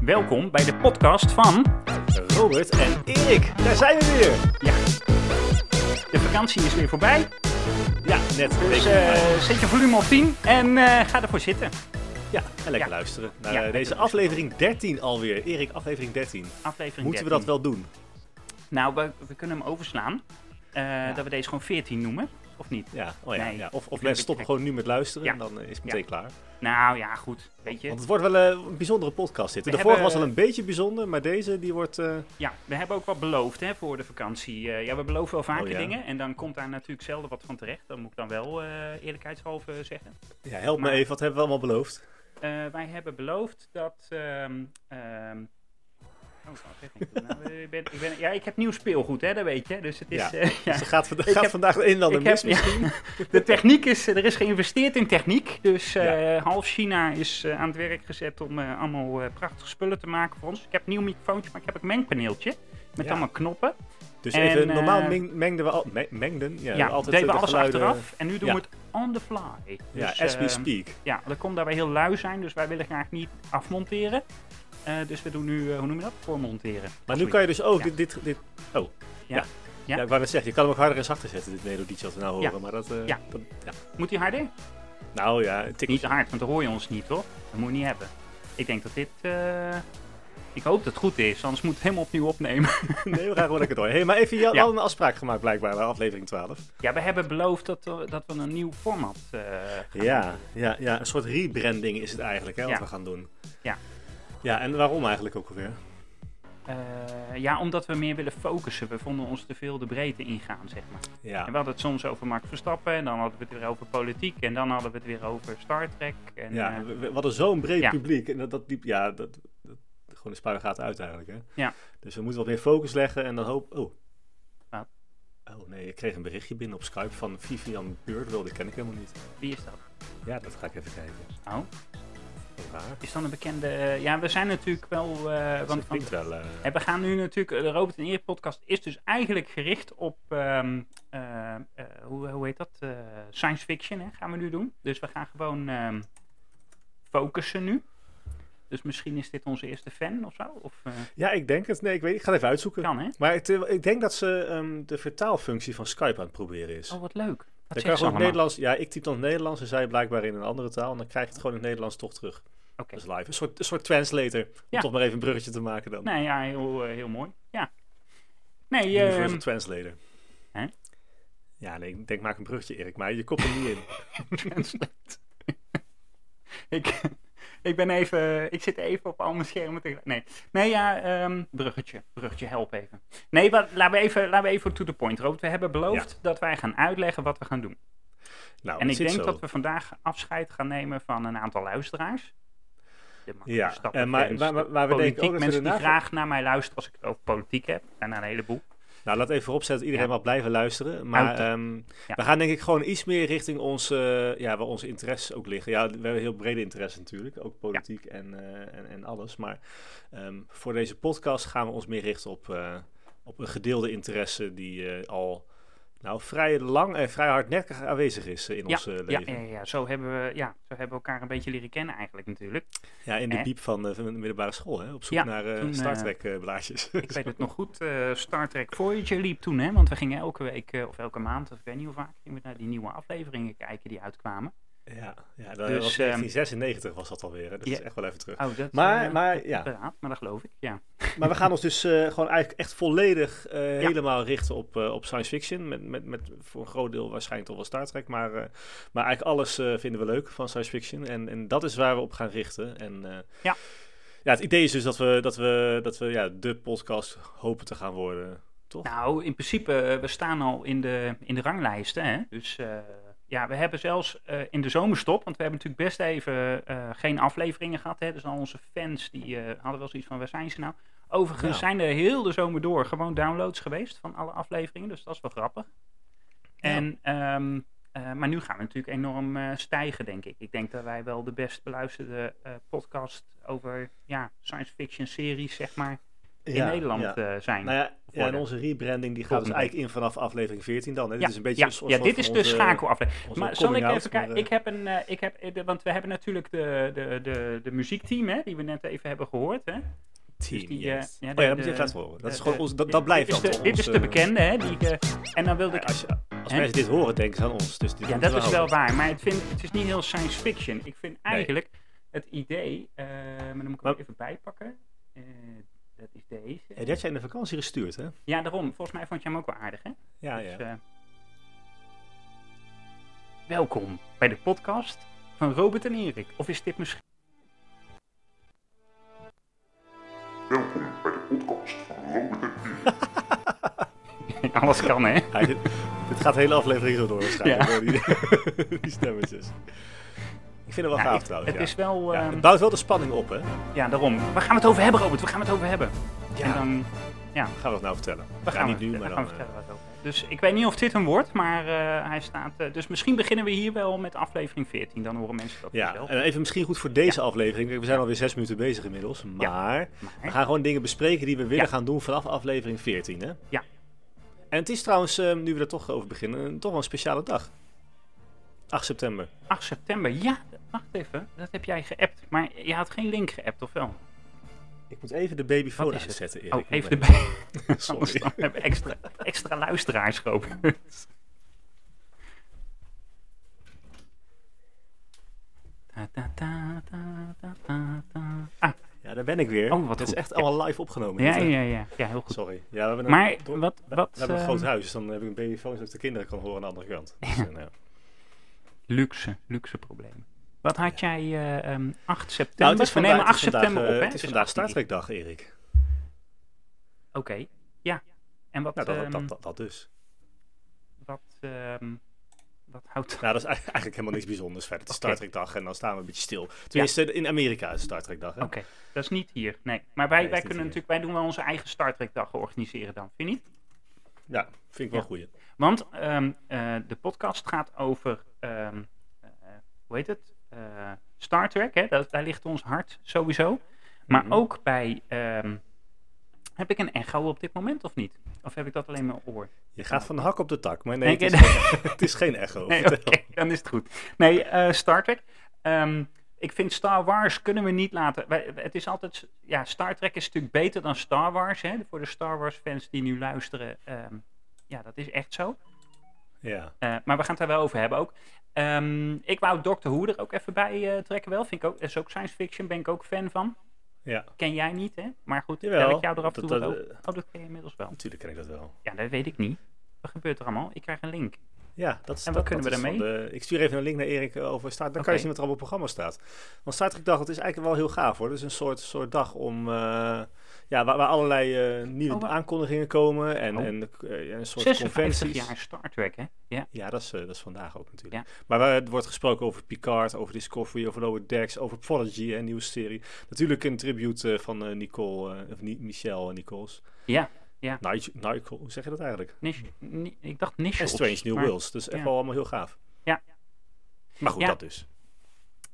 Welkom bij de podcast van Robert en Erik, daar zijn we weer. ja. De vakantie is weer voorbij, Ja, net een dus beetje. eh, zet je volume op 10 en eh, ga ervoor zitten. ja, en lekker ja. luisteren naar Ja, eh, lekker deze aflevering 13 alweer. Erik, aflevering 13. Aflevering Moeten we dat 13. wel doen? Nou, we, we kunnen hem overslaan, eh, dat we deze gewoon 14 noemen, of niet? Ja, oh ja. Nee, ja. Of, ik of vind het mensen stoppen gek. gewoon nu met luisteren Ja. en dan eh, is het meteen Ja. klaar. Nou ja, goed, weet je. Want het wordt wel eh, een bijzondere podcast dit. De We vorige was hebben- al een beetje bijzonder, maar deze die wordt... eh, Ja, we hebben ook wat beloofd hè, voor de vakantie. Eh, ja, we beloven wel vaker Oh, ja. dingen en dan komt daar natuurlijk zelden wat van terecht. Dat moet ik dan wel eh, eerlijkheidshalve zeggen. ja, help Maar- me even, wat hebben we allemaal beloofd? Eh, wij hebben beloofd dat. ehm, ehm, Oh, wat zeg ik toen nou? ik ben, ik ben, ja, ik heb nieuw speelgoed, hè, dat weet je. Dus het is. Ja. eh, ja. Dus er gaat, vanda- Ik gaat heb- vandaag de inlander Ik heb- mis misschien. ja, de techniek is, er is geïnvesteerd in techniek. Dus eh, half China is eh, aan het werk gezet om eh, allemaal eh, prachtige spullen te maken voor ons. Ik heb een nieuw microfoontje, maar ik heb ook een mengpaneeltje met Ja. allemaal knoppen. Dus En, even, normaal eh, meng- mengden we al, me- mengden, ja, Ja, altijd deden we eh, de alles geluiden- achteraf en nu doen ja. we het on the fly. Ja, Dus, as we ehm, speak. Ja, dat komt dat wij heel lui zijn, dus wij willen graag niet afmonteren. Eh, dus we doen nu, eh, hoe noem je dat? Voormonteren. Maar nu kan je dus ook Ja. dit, dit, dit... Oh, Ja. ja. Ja. Ja. ik wou net zeggen, je kan hem ook harder en zachter zetten, dit melodietje wat we nou Ja. horen. Maar dat, eh, Ja. dat- ja. Moet die harder? Nou ja, een Niet te tikkeltje. hard, want dan hoor je ons niet, hoor. Dat moet je niet hebben. Ik denk dat dit... eh, Ik hoop dat het goed is, anders moet ik het helemaal opnieuw opnemen. Nee, we gaan gewoon lekker door. hey, maar even, je had Ja. al een afspraak gemaakt blijkbaar bij aflevering 12. Ja, we hebben beloofd dat, we- dat we een nieuw format eh, gaan Ja, ja, ja, een soort rebranding is het eigenlijk, hè, wat Ja. we gaan doen. Ja. Ja, en waarom eigenlijk ook alweer? Eh, ja, omdat we meer willen focussen. We vonden ons te veel de breedte ingaan, zeg maar. Ja, En we hadden het soms over Max Verstappen, en dan hadden we het weer over politiek, en dan hadden we het weer over Star Trek. En, eh, ja we, we hadden zo'n breed ja. publiek. En dat, dat, diep, ja, dat, dat, gewoon de spuigaten uit eigenlijk, hè. Ja. Dus we moeten wat meer focus leggen en dan hoop... Oh. Wat? Oh nee, ik kreeg een berichtje binnen op Skype van Vivian Beurdwil, die ken ik helemaal niet. wie is dat? Ja, dat ga ik even kijken. Oh, Waar? is dan een bekende... eh, ja, we zijn natuurlijk wel... eh, want, Want, want wel, eh, En we gaan nu natuurlijk, de Robert en Erik podcast is dus eigenlijk gericht op, ehm, eh, eh, hoe, hoe heet dat, Eh, science fiction hè, gaan we nu doen. Dus we gaan gewoon ehm, focussen nu. Dus misschien is dit onze eerste fan of zo. Of, eh, ja, ik denk het. Nee, ik, weet, ik ga het even uitzoeken. kan hè? Maar het, eh, ik denk dat ze ehm, de vertaalfunctie van Skype aan het proberen is. Oh wat leuk. Wat dan kan je zeggen ze gewoon allemaal? het Nederlands. Ja, ik typ dan het Nederlands en zij blijkbaar in een andere taal. En dan krijg je het gewoon in het Nederlands toch terug. Oké. Dat is live. Een soort, een soort translator. Om Ja. toch maar even een bruggetje te maken dan. Nee, ja, heel, eh, heel mooi. Ja. Nee, ehm, Universal Translator. Hè? Ja, nee, ik denk maak een bruggetje, Erik. Maar je kopt er niet in. Translate. ik, ik ben even, ik zit even op al mijn schermen tegelijk. Nee, nee ja, ehm, bruggetje, bruggetje, help even. Nee, wat, laten, we even, laten we even to the point, Robert. We hebben beloofd dat wij gaan uitleggen wat we gaan doen. Nou, en het ik zit denk zo. dat we vandaag afscheid gaan nemen van een aantal luisteraars. De Max Ja, Verstappen en maar- fans, maar- maar- maar we politiek, denken ook dat we mensen die daarna- graag naar mij luisteren als ik het over politiek heb. En een heleboel. Nou, laat even vooropzetten dat iedereen Ja. mag blijven luisteren. Maar Auto. ehm, Ja. we gaan denk ik gewoon iets meer richting onze, eh, ja, waar onze interesses ook liggen. Ja, we hebben heel brede interesses natuurlijk. Ook politiek en, eh, en, en alles. Maar ehm, voor deze podcast gaan we ons meer richten op, eh, op een gedeelde interesse die eh, al nou, vrij lang en vrij hardnekkig aanwezig is eh, in ons eh, Ja, leven. ja, Ja, ja, ja, zo hebben we, ja, zo hebben we elkaar een beetje leren kennen eigenlijk natuurlijk. in de Eh. piep van, eh, van de middelbare school. Hè? Op zoek Ja, naar eh, toen, Star eh, Trek eh, blaadjes. Ik weet het nog goed, eh, Star Trek Voyager liep toen, hè? Want we gingen elke week, eh, of elke maand, of ik weet niet hoe vaak, gingen we naar die nieuwe afleveringen kijken die uitkwamen. ja, ja, dat Dus, was ehm, 1996 was dat alweer. Hè? Dat ja. is echt wel even terug. Oh, dat, Maar, eh, maar ja, paraat, maar dat geloof ik, ja. Maar we gaan ons dus eh, gewoon eigenlijk echt volledig eh, helemaal richten op, eh, op science fiction. Met, met, met voor een groot deel waarschijnlijk toch wel Star Trek. Maar, eh, maar eigenlijk alles eh, vinden we leuk van science fiction. En, en dat is waar we op gaan richten. En, eh, Ja. ja, het idee is dus dat we, dat we, dat we ja, de podcast hopen te gaan worden. Toch? Nou, in principe, eh, we staan al in de, in de ranglijsten, hè? Dus eh, ja, we hebben zelfs eh, in de zomerstop, want we hebben natuurlijk best even eh, geen afleveringen gehad, hè? Dus al onze fans, die eh, hadden wel zoiets van, waar zijn ze nou? Overigens Ja. zijn er heel de zomer door gewoon downloads geweest van alle afleveringen, dus dat is wel grappig. En, ehm, eh, maar nu gaan we natuurlijk enorm eh, stijgen, denk ik. Ik denk dat wij wel de best beluisterde eh, podcast over ja, science fiction series, zeg maar, in Nederland ja. eh, zijn. Nou ja, ja, en worden. onze rebranding die gaat Volgende dus eigenlijk in vanaf aflevering 14 dan. Hè? Dit is een beetje ja, een soort ja, van dit is van de onze- schakelaflevering. onze Maar zal ik coming out, even kijken? maar, Ik heb een, eh, ik heb, eh, de- want we hebben natuurlijk de, de, de, de muziekteam, hè, die we net even hebben gehoord. Hè. Team, Dus die, yes. eh, ja, Oh de- ja, dat moet de- je laten horen. Dat, is de- gewoon de- ons, dat, dat blijft dit is dan de, toch dit is ons, de eh, bekende, hè, die ik, eh, en dan wilde ik... Als, je- als Hè? mensen dit horen, denken ze aan ons. Dus dit Ja, moeten dat is we wel houden. waar, maar het, vind, het is niet heel science fiction. Ik vind eigenlijk het idee, eh, maar dan moet ik hem Maar- even bijpakken. Eh, dat is deze. Ja, die had jij in de vakantie gestuurd, hè? Ja, daarom. Volgens mij vond je hem ook wel aardig, hè? Ja, Dus, Ah, ja. eh, welkom bij de podcast van Robert en Erik. Of is dit misschien... Welkom bij de podcast van Robert en Erik. Alles kan, hè? Hij- dit, dit gaat de hele aflevering zo door waarschijnlijk. Ja. hoor, Die, die stemmetjes. Ik vind het wel Nou, gaaf ik- trouwens. het ja. is wel... Ja, ehm, het bouwt wel de spanning op, hè? Ja, daarom. Waar gaan we het over hebben, Robert? Waar gaan we het over hebben? En Ja. dan gaan we dat nou vertellen? we ja, gaan niet we, nu, daar maar gaan dan... eh. we vertellen wat over hebben. Dus ik weet niet of dit hem wordt, maar eh, hij staat... eh, dus misschien beginnen we hier wel met aflevering 14. Dan horen mensen dat eh, ja, vanzelf. en even misschien goed voor deze aflevering. Kijk, We zijn alweer zes minuten bezig inmiddels. Maar we Maar, gaan gewoon dingen bespreken die we willen Ja. gaan doen vanaf aflevering 14, hè? Ja. En het is trouwens, eh, nu we er toch over beginnen, een- toch wel een speciale dag. 8 september. 8 september. Ja, wacht even. Dat heb jij geappt. Maar je had geen link geappt, of wel? Ik moet even de babyfoon Wat is het? uitzetten, Erik. Oh, even Moment. erbij. Anders Sorry. dan hebben we extra, extra luisteraars geopend. Ta, ta, ta, ta, ta, ta, ta. Ah, Ja, daar ben ik weer. Oh, wat Het is goed. echt allemaal live opgenomen. ja, dit, hè? ja, ja, ja, heel goed. Sorry. Ja, we hebben een, Maar we- wat, we, wat we hebben een ehm, groot huis, dus dan heb ik een babyfoon zodat ik de kinderen kan horen aan de andere kant. Dus, eh, nou. luxe, luxe probleem. Wat had jij eh, ehm, 8 september? Nou, het is we nemen vandaag, 8 het is vandaag, september eh, op, hè? Het is vandaag 18 Star Trek dag, Erik. Oké, ja. En wat, Nou, dat, ehm, dat, dat, dat dus. wat, ehm, wat houdt... Nou, dat is eigenlijk eigenlijk helemaal niks bijzonders verder. Het is Oké. Star Trek dag en dan staan we een beetje stil. Tenminste, in Amerika is het Star Trek dag. Hè? Oké, dat is niet hier, nee. Maar wij, Nee, is wij niet kunnen hier. natuurlijk, wij doen wel onze eigen Star Trek dag organiseren dan, vind je niet? Ja, vind ik wel Ja. een goeie. Want ehm, eh, de podcast gaat over, ehm, eh, hoe heet het? Eh, Star Trek, hè? Dat, daar ligt ons hart sowieso. Maar Mhm. ook bij, ehm, heb ik een echo op dit moment of niet? Of heb ik dat alleen in mijn oor? Je gaat van de hak op de tak, maar Nee, nee, het ik- is, geen- het is geen echo. Nee, oké, vertel. dan is het goed. Nee, eh, Star Trek. Ehm, ik vind Star Wars kunnen we niet laten. wij- het is altijd. Ja, Star Trek is natuurlijk beter dan Star Wars. Hè? Voor de Star Wars fans die nu luisteren. ehm, ja, dat is echt zo. Ja. Eh, maar we gaan het daar wel over hebben ook. Ehm, ik wou Doctor Who er ook even bij eh, trekken. Wel, vind ik ook. Is ook science fiction, ben ik ook fan van. ja, Ken jij niet, hè? Maar goed, Jawel, vertel ik jou er af en dat- toe wat dat, eh, over. Oh, dat ken je inmiddels wel. natuurlijk ken ik dat wel. Ja, dat weet ik niet. Wat gebeurt er allemaal? Ik krijg een link. Ja, dat is En dat, wat kunnen dat we is van de- ik stuur even een link naar Erik eh, over Star Dan Oké. kan je zien wat er allemaal op het programma staat. Want Star Trek Dag, dat is eigenlijk wel heel gaaf hoor. Dat is een soort, soort dag om, eh, ja, waar, waar allerlei eh, nieuwe Oh, wa- aankondigingen komen. En, Oh. en eh, een soort 56 conventies. jaar Star Trek, hè? Ja. Ja, dat is, eh, dat is vandaag ook natuurlijk. Maar waar het wordt gesproken over Picard, over Discovery, over Lower Decks, over Prodigy, een nieuwe serie. Natuurlijk een tribute eh, van eh, Nicole, eh, of Ni- Michelle Nichols. Ja, ja. Nigel, Nigel, hoe zeg je dat eigenlijk? Nish, ni- ik dacht Nish. En Strange New maar- Worlds, dus echt ja. wel allemaal heel gaaf. Ja. Maar goed, Ja. dat dus.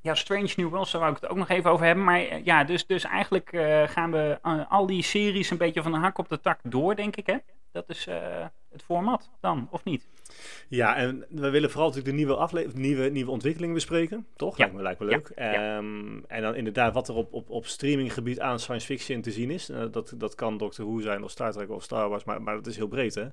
Ja, Strange New Worlds, daar wou ik het ook nog even over hebben. Maar eh, ja, dus, dus eigenlijk eh, gaan we eh, al die series een beetje van de hak op de tak door, denk ik, hè? Dat is eh, het format dan, of niet? Ja, en we willen vooral natuurlijk de nieuwe, afle- nieuwe, nieuwe ontwikkelingen bespreken, toch? Ja. Lijkt me, lijkt me Ja, leuk. Ehm, en dan inderdaad wat er op, op, op streaminggebied aan science fiction te zien is. Eh, dat, dat kan Doctor Who zijn of Star Trek of Star Wars, maar, maar dat is heel breed, hè?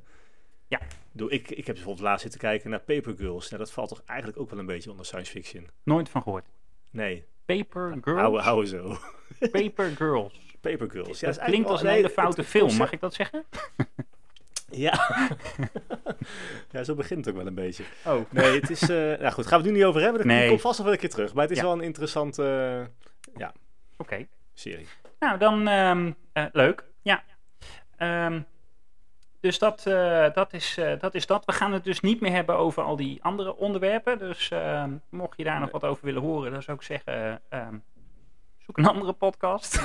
Ja. Doe, ik, ik heb bijvoorbeeld laatst zitten kijken naar Paper Girls. Nou, dat valt toch eigenlijk ook wel een beetje onder science fiction? Nooit van gehoord. Nee, Paper Girls. hou hou zo. Paper Girls. Paper Girls. Ja, dat is eigenlijk klinkt wel- als een nee, hele het- foute het film, concept- mag ik dat zeggen? Ja. ja, zo begint het ook wel een beetje. Oh, Nee, het is... eh nou goed, gaan we het nu niet over hebben. Dat Nee. komt vast nog wel een keer terug. Maar het is Ja. wel een interessante eh, oké. serie. Nou, dan ehm, eh, leuk. Ja. Ehm, dus dat, eh, dat, is, eh, dat is dat. We gaan het dus niet meer hebben over al die andere onderwerpen. Dus ehm, mocht je daar nog wat over willen horen, dan zou ik zeggen: ehm, zoek een andere podcast.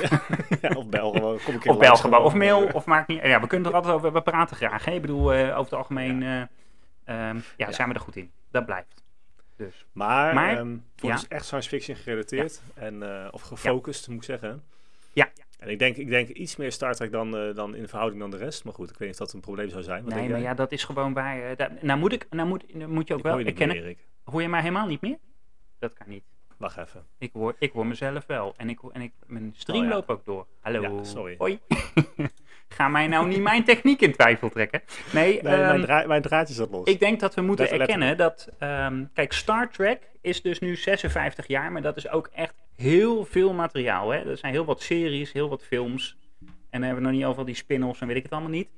Ja, of bel gewoon. Kom ik of bel gewoon, of mail, of maak niet. Ja, we kunnen er altijd over. We praten graag. Hè? Ik bedoel, eh, over het algemeen eh, ehm, ja, Ja. zijn we er goed in. Dat blijft. Dus Maar, Maar, ehm, voor ja. dus echt science fiction gerelateerd. En, eh, of gefocust, moet ik zeggen. ja, En ik denk, ik denk iets meer Star Trek dan, eh, dan in de verhouding dan de rest. Maar goed, ik weet niet of dat een probleem zou zijn. Wat nee, denk maar jij? ja, dat is gewoon bij... eh, daar- nou moet ik, nou moet, nou moet je ook ik wel hoor je niet erkennen. meer, Erik. Hoor je mij helemaal niet meer? Dat kan niet. Wacht even. Ik hoor, ik hoor mezelf wel. En, ik, hoor- en ik, mijn stream Oh ja. loopt ook door. Hallo. Ja, sorry. Hoi. Ga mij nou niet mijn techniek in twijfel trekken. Nee, Nee, ehm, mijn, draa- mijn draadje zat los. ik denk dat we moeten Let- let- erkennen dat... ehm, kijk, Star Trek is dus nu 56 jaar. Maar dat is ook echt heel veel materiaal. Hè? Er zijn heel wat series, heel wat films. En dan hebben we nog niet over die spin-offs en weet ik het allemaal niet.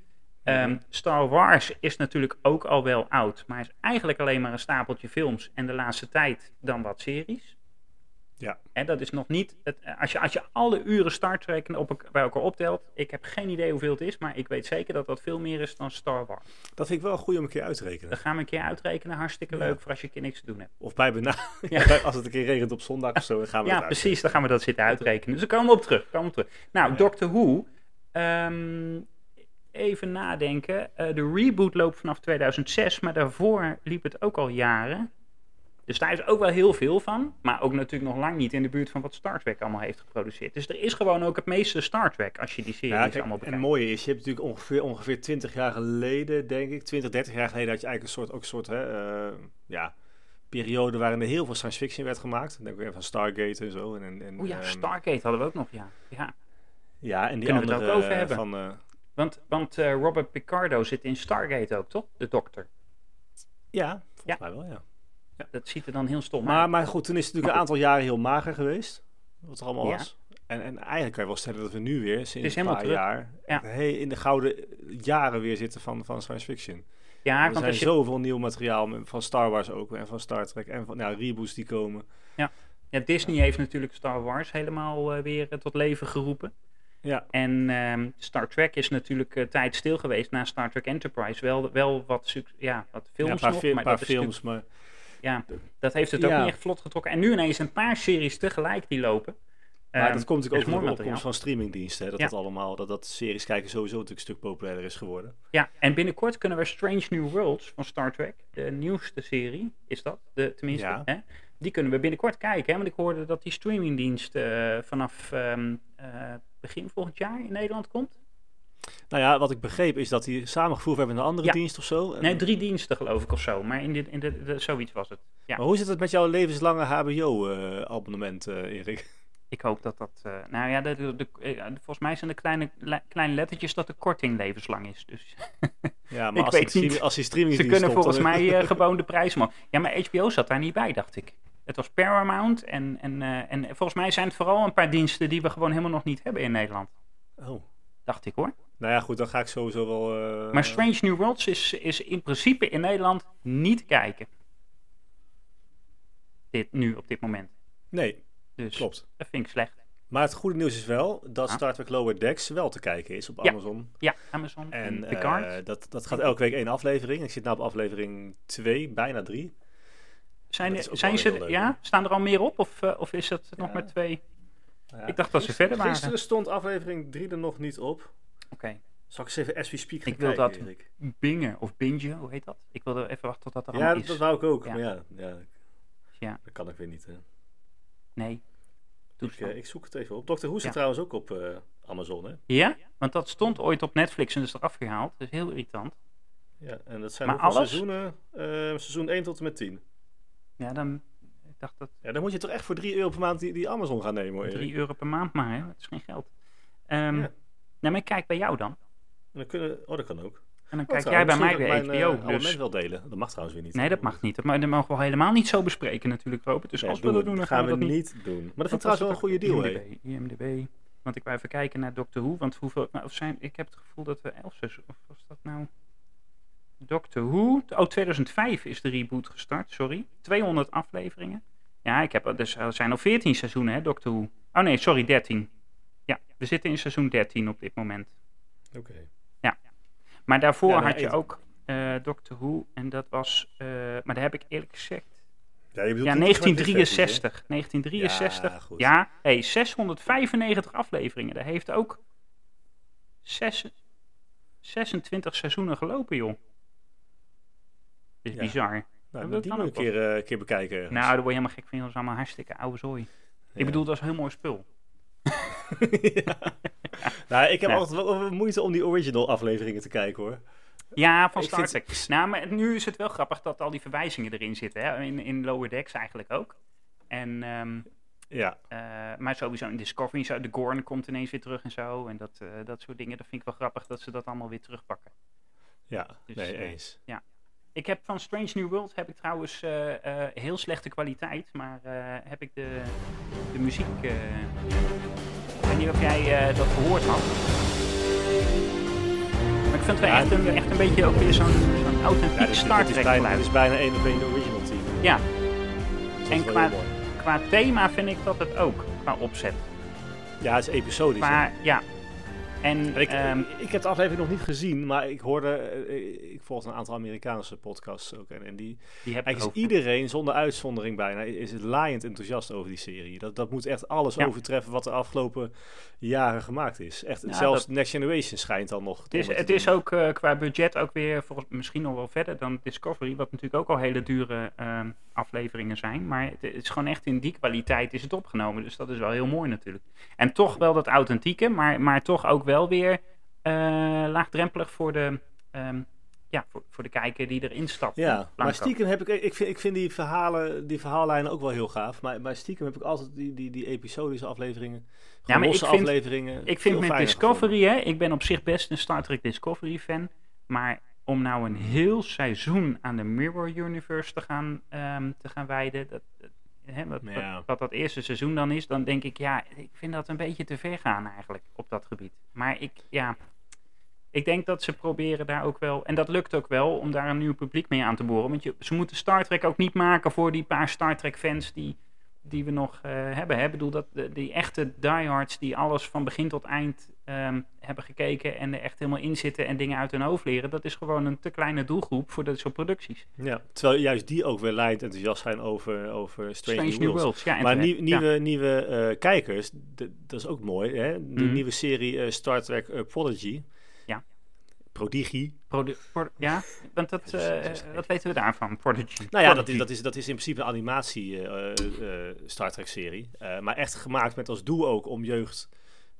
Ehm, Star Wars is natuurlijk ook al wel oud. Maar is eigenlijk alleen maar een stapeltje films. En de laatste tijd dan wat series. Ja. En dat is nog niet. Het, eh, als, je, als je alle uren Star Trek op, elk- bij elkaar optelt. Ik heb geen idee hoeveel het is. Maar ik weet zeker dat dat veel meer is dan Star Wars. Dat vind ik wel goed om een keer uit te rekenen. Dat gaan we een keer uitrekenen. Hartstikke Ja. leuk voor als je een keer niks te doen hebt. Of bij bena als het een keer regent op zondag of zo, dan gaan we Ja, het uit. precies. Dan gaan we dat zitten uitrekenen. Dus daar komen we op terug. Komen we op terug. Nou, Ja. Doctor Who. ehm, even nadenken. Eh, de reboot loopt vanaf 2006, maar daarvoor liep het ook al jaren. Dus daar is ook wel heel veel van. Maar ook natuurlijk nog lang niet in de buurt van wat Star Trek allemaal heeft geproduceerd. Dus er is gewoon ook het meeste Star Trek als je die series Ja, kijk, allemaal en bekijkt. het mooie is, je hebt natuurlijk ongeveer, ongeveer 20 jaar geleden, denk ik, 20, 30 jaar geleden, had je eigenlijk een soort, ook een soort hè, eh, ja, periode waarin er heel veel science fiction werd gemaakt. Dan denk ik weer van Stargate en zo. En, en, en, O Oh ja, ehm, Stargate hadden we ook nog, ja. ja. Ja, en die Kunnen we andere het ook over eh, hebben? van... eh, Want, want eh, Robert Picardo zit in Stargate ook, toch? De dokter. ja, volgens Ja. mij wel, ja. Dat ziet er dan heel stom uit. Maar, maar goed, toen is het natuurlijk Maar een aantal jaren heel mager geweest. Wat er allemaal Ja. was. En, en eigenlijk kan je wel stellen dat we nu weer is sinds een helemaal paar terug. jaar Ja. he- in de gouden jaren weer zitten van, van science fiction. Ja, er want zijn er zit zoveel nieuw materiaal met- van Star Wars ook en van Star Trek en van nou, reboots die komen. Ja, Disney heeft natuurlijk Star Wars helemaal eh, weer eh, tot leven geroepen. Ja, En ehm, Star Trek is natuurlijk eh, tijd stil geweest na Star Trek Enterprise. Wel, wel wat, suc- ja, wat ja, films een paar, nog, fi- een maar paar dat, is films, maar natuurlijk- ja, dat heeft het ook Ja. niet echt vlot getrokken. En nu ineens een paar series tegelijk die lopen. Maar Ehm, dat komt is natuurlijk ook mooi door de materiaal. opkomst van streamingdiensten. Hè? Dat, Ja. dat, allemaal, dat dat series kijken sowieso natuurlijk een stuk populairder is geworden. Ja, en binnenkort kunnen we Strange New Worlds van Star Trek, de nieuwste serie, is dat, de, tenminste, Ja. hè? die kunnen we binnenkort kijken. Hè? Want ik hoorde dat die streamingdienst eh, vanaf ehm, eh, begin volgend jaar in Nederland komt. Nou ja, wat ik begreep is dat die samengevoegd hebben in een andere Ja. dienst of zo. Eh, En- Nee, drie diensten geloof ik of zo. Maar in dit, in dit, de- zoiets was het. Ja, Maar hoe zit het met jouw levenslange HBO-abonnement, eh, Erik? ik hoop dat dat... eh, nou ja, de, de- de- eh, volgens mij zijn de kleine, le- kleine lettertjes dat de korting levenslang is. Dus Ja, maar Ik als, weet die stream- niet. als die streaming ze kunnen volgens mij eh, gewoon de prijs maken. Ja, maar HBO zat daar niet bij, dacht ik. Het was Paramount en, en, eh, en volgens mij zijn het vooral een paar diensten die we gewoon helemaal nog niet hebben in Nederland. eh, Oh. Dacht ik hoor. Nou ja, goed, dan ga ik sowieso wel... eh, Maar Strange New Worlds is, is in principe in Nederland niet kijken. Dit nu, op dit moment. Nee, Dus klopt. dat vind ik slecht. Maar het goede nieuws is wel dat Ah. Star Trek Lower Decks wel te kijken is op Ja. Amazon. Ja, Amazon en, En Picard. eh, dat, dat gaat elke week één aflevering. Ik zit nu op aflevering 2, bijna 3. Zijn, Dat er- is ook zijn wel ze, heel leuk, ja, staan er al meer op? Of, eh, of is dat nog Ja. maar twee? Ik dacht dat ze verder waren. Gisteren stond aflevering 3 er nog niet op. Oké. Zal ik eens even as we speak gaan Ik wil kijken, dat- Erik? Bingen of bingen, hoe heet dat? Ik wilde even wachten tot dat er Ja, allemaal dat, is. dat wou ik ook. Ja. Maar ja, ja, Ja. dat kan ik weer niet. Hè. Nee. Ik, Toestand. eh, ik zoek het even op. Dr. Who zit Ja. trouwens ook op eh, Amazon, hè? Ja? Want dat stond ooit op Netflix en is eraf gehaald. Dat is heel irritant. Ja, en dat zijn Maar hoeveel alles? seizoenen? Eh, seizoen 1 tot en met 10. Ja, dan... Ik dacht dat Ja, dan moet je toch echt voor 3 euro per maand die, die Amazon gaan nemen, hoor, Erik. 3 euro per maand maar, hè. Dat is geen geld. Ehm Ja. Nou, maar kijk bij jou dan. En dan kunnen, oh, dat kan ook. En dan kijk Oh, trouwens, jij bij mij misschien weer kan ik mijn, eh, HBO. abonnement Dus... wel delen. Dat mag trouwens weer niet. Nee, dat mag niet. Dat, ma- dat mogen we helemaal niet zo bespreken natuurlijk, Robert. Dus Nee, als we dat doen, dan gaan we dat het niet niet doen. Maar dat vind ik Wat trouwens wel een was goede het deal, ook? IMDb, hè? IMDb. Want ik wou even kijken naar Doctor Who. Want hoeveel... Nou, of zijn, ik heb het gevoel dat we elf seizoen... Of was dat nou... Doctor Who? Oh, 2005 is de reboot gestart. Sorry. 200 afleveringen. Ja, ik heb... al- Dus er zijn al 14 seizoenen, hè, Doctor Who. Oh nee, sorry, 13. Ja, we zitten in seizoen 13 op dit moment. Oké. Maar daarvoor Ja, dan had je even. ook eh Doctor Who. En dat was... eh, maar daar heb ik eerlijk gezegd... Ja, je bedoelt Ja, die 1963. 1963. Ja, goed. Ja, hey, 695 afleveringen. Daar heeft ook zes- 26 seizoenen gelopen, joh. Dit is Ja. bizar. Nou, dat die kan moet ik ook een keer, eh, een keer bekijken. ergens. Nou, daar word je helemaal gek van. joh. Dat is allemaal hartstikke oude zooi. Ja. Ik bedoel, dat is heel mooi spul. Ja. Nou, ik heb Ja. altijd wel moeite om die original afleveringen te kijken hoor. Ja, van Ik Star vind- Trek. Nou, maar nu is het wel grappig dat al die verwijzingen erin zitten. Hè? In, in Lower Decks eigenlijk ook. En, ehm, Ja, eh, maar sowieso in Discovery, en zo, de Gorn komt ineens weer terug en zo. En dat, eh, dat soort dingen. Dat vind ik wel grappig dat ze dat allemaal weer terugpakken. ja, Dus, nee, eh, eens. Ik heb van Strange New World heb ik trouwens eh, eh, heel slechte kwaliteit, maar eh, heb ik de, de muziek. eh, ik weet niet of jij eh, dat gehoord had. Maar ik vind het wel Ja, echt, een, echt een beetje ook weer zo'n zo'n authentiek Ja, dit, is- Star dit Trek is bijna, geluid. dit is bijna één op één de original team. Ja, Dus dat is en wel qua, heel mooi. qua thema vind ik dat het ook, qua opzet. Ja, het is episodisch. hè. Maar ja, en Ik, ehm, ik heb de aflevering nog niet gezien, maar ik hoorde, eh, ik volg een aantal Amerikaanse podcasts ook. En, en die, die heb ik over. eigenlijk is iedereen, zonder uitzondering bijna, is het laaiend enthousiast over die serie. Dat, dat moet echt alles Ja. overtreffen wat de afgelopen jaren gemaakt is. Echt, Ja, zelfs Next Generation schijnt dan nog. Het is, het is ook eh, qua budget ook weer volgens, misschien nog wel verder dan Discovery, wat natuurlijk ook al hele dure ehm, afleveringen zijn. Maar het is gewoon echt in die kwaliteit is het opgenomen, dus dat is wel heel mooi natuurlijk. En toch wel dat authentieke, maar, maar toch ook wel weer eh, laagdrempelig voor de, ehm, ja, voor, voor de kijker die erin stapt. Ja, maar Blanco. stiekem heb ik, ik vind, ik vind die, verhalen, die verhaallijnen ook wel heel gaaf. Maar, maar stiekem heb ik altijd die, die, die episodische afleveringen, ja, maar ik losse vind- Ik afleveringen. eh, veel vind met fijner Discovery, hè, ik ben op zich best een Star Trek Discovery fan. Maar om nou een heel seizoen aan de Mirror Universe te gaan, ehm, te gaan wijden. Dat, dat- hè, wat, wat- Ja. wat, dat eerste seizoen dan is, dan denk ik, ja, ik vind dat een beetje te ver gaan eigenlijk op dat gebied. Maar ik, ja. Ik denk dat ze proberen daar ook wel, en dat lukt ook wel, om daar een nieuw publiek mee aan te boren. Want je, ze moeten Star Trek ook niet maken voor die paar Star Trek fans die, die we nog eh, hebben. Hè? Ik bedoel, dat, de- die echte diehards die alles van begin tot eind ehm, hebben gekeken en er echt helemaal in zitten en dingen uit hun hoofd leren, dat is gewoon een te kleine doelgroep voor dat soort producties. gevonden. Ja, terwijl juist die ook weer laaiend enthousiast zijn over, over Strange, New Worlds. Ja, en Maar terecht. nieuw- nieuwe, nieuwe eh, kijkers, d- dat is ook mooi. Hè? De Mhm. nieuwe serie eh, Star Trek eh, Prodigy. Ja. Prodigy. Ja, produ- pro- ja, want dat, Jezus, eh, jezus, wat weten we daarvan? Prodigy. Nou ja, dat Prodigy. is, dat, is, dat is in principe een animatie eh, eh, eh, Star Trek serie. Eh, maar echt gemaakt met als doel ook om jeugd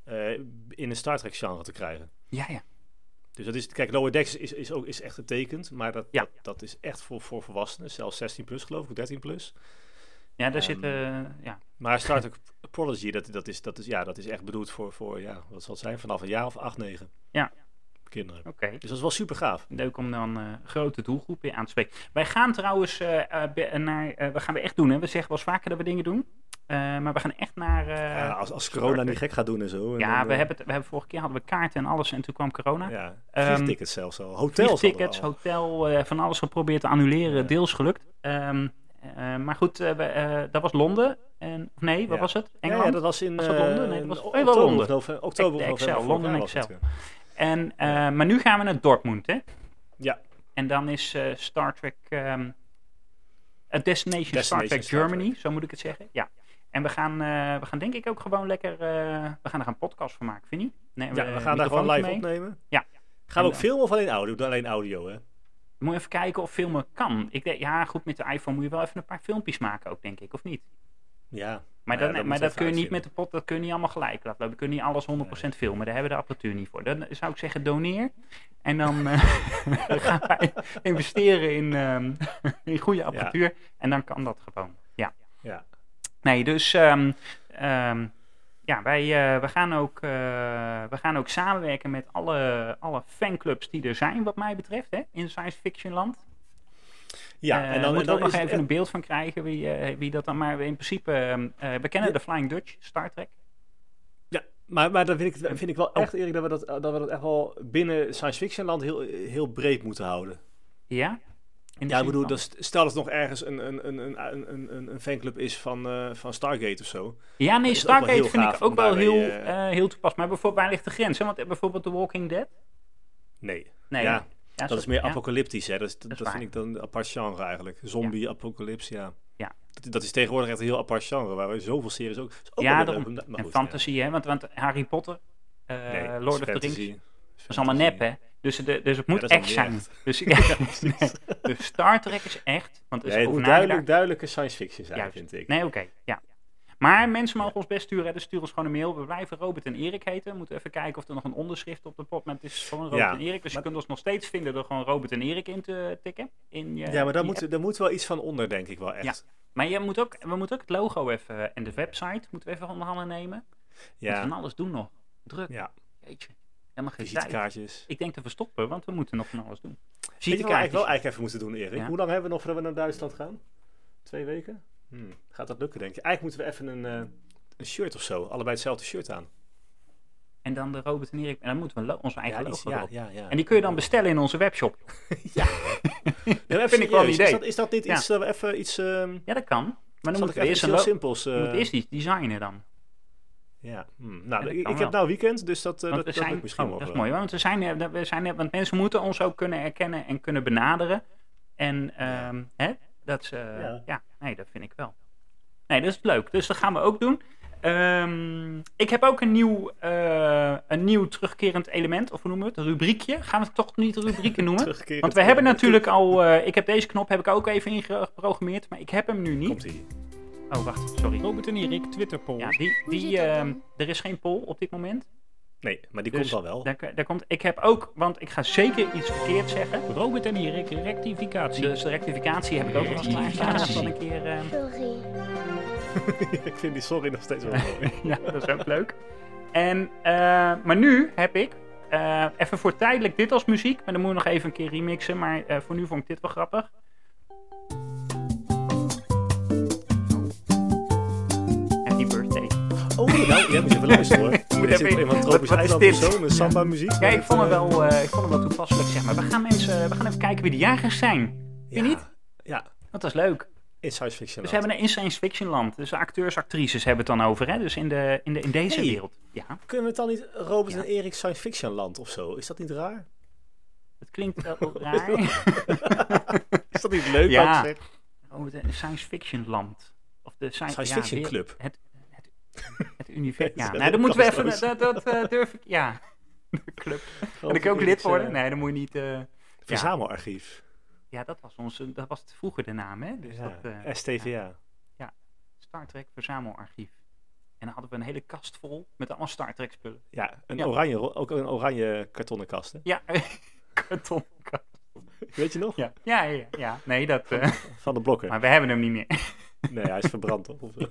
eh, in een Star Trek genre te krijgen. Ja, ja. Dus dat is, kijk, Lower Decks is, is, ook, is echt getekend, maar dat, Ja. dat, dat is echt voor, voor volwassenen, zelfs 16 plus geloof ik, 13 plus. ja daar Ehm, zitten, ja, Maar Star Trek Prodigy, dat, dat, is, dat, is, ja, dat is echt bedoeld voor, voor ja, wat zal het zijn, vanaf een jaar of 8, 9 Ja. kinderen. oké. Dus dat is wel super gaaf. Leuk om dan eh, grote doelgroepen weer aan te spreken. Wij gaan trouwens eh, eh, be- naar. eh, we gaan weer echt doen, hè? We zeggen wel eens vaker dat we dingen doen. Eh, maar we gaan echt naar. eh, ja, als, als corona Trek. niet gek gaat doen en zo. en ja, dan, we eh, hebben, het, we hebben vorige keer hadden we kaarten en alles en toen kwam corona. Ja, Ehm, vliegtickets zelfs al. Hotels tickets, hadden we al. hotel, eh, van alles geprobeerd te annuleren, Ja. deels gelukt. Ehm, eh, maar goed, eh, we, eh, dat was Londen. En, of nee, wat Ja. was het? Ja, Engeland. ja, dat was in Was dat Londen? Nee, dat eh, was- oh, oktober, wel of Londen. nove- oktober of Excel, november vorig Londen jaar was het, Excel. ja. en, eh, maar nu gaan we naar Dortmund, hè? Ja. En dan is eh, Star Trek... ehm, eh, Destination, Star Destination Trek Star Germany, zo moet ik het zeggen. Ja. En we gaan, eh, we gaan denk ik ook gewoon lekker... eh, we gaan er een podcast van maken, vind je niet? Nee, Ja, we gaan daar gewoon microfoontje live mee. opnemen. Ja. Gaan En we ook dan- filmen of alleen audio? Doe Alleen audio, hè? Moet je even kijken of filmen kan. Ik denk, ja, goed, met de iPhone moet je wel even een paar filmpjes maken ook, denk ik, of niet? Ja. Maar, Nou ja, dan, dat maar dat moet even kun je niet uitvinden. met de pot, dat kun je niet allemaal gelijk laten lopen. We kunnen niet alles 100% filmen, daar hebben we de apparatuur niet voor. Dan zou ik zeggen, doneer. En dan eh, gaan wij investeren in, ehm, in goede apparatuur. En dan kan dat gewoon. Ja. Ja. Nee, dus ehm, ehm, ja, wij eh, we gaan, ook, eh, we gaan ook samenwerken met alle, alle fanclubs die er zijn, wat mij betreft, hè, in science fiction land. Ja, Eh, en dan, en moeten we dan ook nog is het- even een beeld van krijgen wie, eh, wie dat dan maar in principe. ehm, eh, we kennen de Flying Dutch, Star Trek. Ja, maar, maar dan vind ik, vind ik oh. wel echt, Erik, dat we dat, dat we dat echt wel binnen science fiction land heel, heel breed moeten houden. Ja? In de Ja, ik zin bedoel, van- dat st- stel dat er nog ergens een, een, een, een, een, een, een fanclub is van, eh, van Stargate of zo. ja, nee, is ook wel Stargate heel vind gaaf ik ook om wel daarbij, heel, eh, eh, heel toepasbaar. Maar bijvoorbeeld, waar ligt de grens? Hè? Want eh, bijvoorbeeld The Walking Dead? Nee, Nee, Ja, zo- dat is meer ja. apocalyptisch, hè. Dat, is- dat, is dat waar. vind ik dan een apart genre eigenlijk. Zombie, apocalypse, ja. Ja. Dat, dat is tegenwoordig echt een heel apart genre, waar we zoveel series ook... is ook Ja, wel weer daarom. leuk om- maar En goed, fantasy, hè? Want, want Harry Potter, eh, ja. Nee, Lord of the fantasy. Rings, dat is Fantasy. allemaal nep, hè? Dus, de, dus het moet dat is echt allemaal zijn. echt. Dus, ja, precies. nee. dus Star Trek is echt. Want het is Nee, het ook nagedacht. moet duidelijk, duidelijke science fiction zijn, Juist. vind ik. Nee, oké. Ja. Maar mensen mogen ons best sturen. hè, Dus stuur ons gewoon een mail. We blijven Robert en Erik heten. We moeten even kijken of er nog een onderschrift op de pot. Maar het is gewoon Robert Ja. en Erik. Dus Maar- je kunt ons nog steeds vinden door gewoon Robert en Erik in te tikken. In je, Ja, maar daar die moet, daar moet wel iets van onder, denk ik wel echt. Maar je moet ook, we moeten ook het logo even eh, en de website moeten we even onder handen nemen. Ja. Ja, van alles doen nog. Druk. Ja. Jeetje. Helemaal geen tijd. visitekaartjes. Ik denk te verstoppen, want we moeten nog van alles doen. Weet je wat we eigenlijk wel Visitekaartjes. eigenlijk even moeten doen, Erik? Ja. Hoe lang hebben we nog voordat we naar Duitsland gaan? Twee weken? Hmm, Gaat dat lukken, denk je? Eigenlijk moeten we even een, eh, een shirt of zo. Allebei hetzelfde shirt aan. En dan de Robert en Erik. En dan moeten we lo- onze eigen ja, iets- logo ja, erop. ja, ja. En die kun je dan bestellen in onze webshop. Ja, maar even vind ik wel een serieus, idee. Is dat, is dat niet Ja. iets dat we even iets... ehm Ja, dat kan. Maar dan zal ik Nou, moeten even we iets eerst, een heel lo- simpels... eh, we moeten eerst iets designen dan. ja. hmm, Ja, Nou, dat ik, kan ik wel. heb nou weekend, dus dat, eh, Want we dat, dat zijn, lukt misschien oh, wel. dat is mooi, want, we zijn, eh, we zijn, eh, want mensen moeten ons ook kunnen erkennen en kunnen benaderen. En ehm, hè, dat is, eh, ja. Ja. nee, dat vind ik wel. Nee, dat is leuk. Dus dat gaan we ook doen. Ehm, ik heb ook een nieuw, eh, een nieuw terugkerend element, of hoe noemen we het? Een rubriekje. Gaan we het toch niet rubrieken noemen? Terugkeren. Want we hebben natuurlijk al, eh, ik heb deze knop heb ik ook even ingeprogrammeerd, maar ik heb hem nu niet. Komt ie. Oh, wacht, sorry. Robert en Erik, Twitterpoll. Ja, die, zit die, dat ehm, dan? er is geen poll op dit moment. Nee, maar die Dus komt dan wel. Daar, daar komt, ik heb ook, want ik ga zeker iets verkeerd zeggen. Robert en Erik, rectificatie. Dus de rectificatie heb ik ook nog klaarstaan. Dat is dan een keer, ehm, Sorry. ik vind die sorry nog steeds wel mooi. ja, dat is ook leuk. En, eh, maar nu heb ik, eh, even voor tijdelijk dit als muziek, maar dan moet ik nog even een keer remixen, maar eh, voor nu vond ik dit wel grappig. Happy birthday. Oh, nou, jij moet even luisteren hoor. Moet even- even iemand wat- tropisch wat is IJsland of dit? zo, met samba muziek. Ja, ik vond het wel, eh, ik vond het wel toepasselijk, zeg maar. We gaan mensen, we gaan even kijken wie de jagers zijn. Ja, niet? Ja, Dat is leuk. in science fiction. Dus we hebben een in science fiction land. Dus de acteurs, actrices hebben het dan over, hè? Dus in, de, in, de, in deze Hey. wereld. Ja, Kunnen we het dan niet Robert Ja. en Erik science fiction land of zo? Is dat niet raar? het klinkt wel raar. Is dat niet leuk? Ja. wou ik zeggen? Oh, de science fiction land. Of de science, Science ja, fiction weer- club. Het, het, het universum. Ja, Dat is nou, wel dat moeten we even. kansloos. Dat, dat eh, durf ik. Ja, de club. En Robert dan kan ik ook Erik's, lid worden. eh, Nee, dan moet je niet. eh, Verzamelarchief. ja, dat was, ons, eh, dat was vroeger de naam, hè? Dus Ja, dat. eh, STVA. Star Trek Verzamelarchief. En dan hadden we een hele kast vol met allemaal Star Trek spullen. Ja, een Ja. oranje, ro- ook een oranje kartonnen kast. hè? Ja, karton. Weet je nog? Ja, ja, ja, ja. Nee, dat. eh, Van de blokker. maar we hebben hem niet meer. Nee, hij is verbrand toch? Of eh, oh,